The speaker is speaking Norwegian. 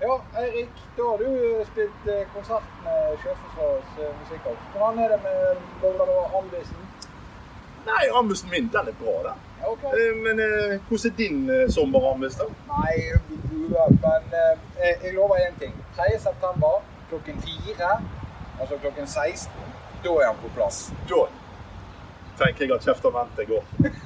Ja, Eirik, da har du spilt eh, konsert med Sjøforsvarets eh, musikkorps. Hvordan er det med Bowler og Andisen? Nei, rammusen min, den er bra, den. Ja, ok. Eh, Men eh, hvordan er din eh, sommerrammus, da? Nei, vi gruer, men eh, jeg- jeg lover én ting. 3. september klokken 4, altså klokken 16, da er han på plass. Da tenker jeg at kjeft og vente går.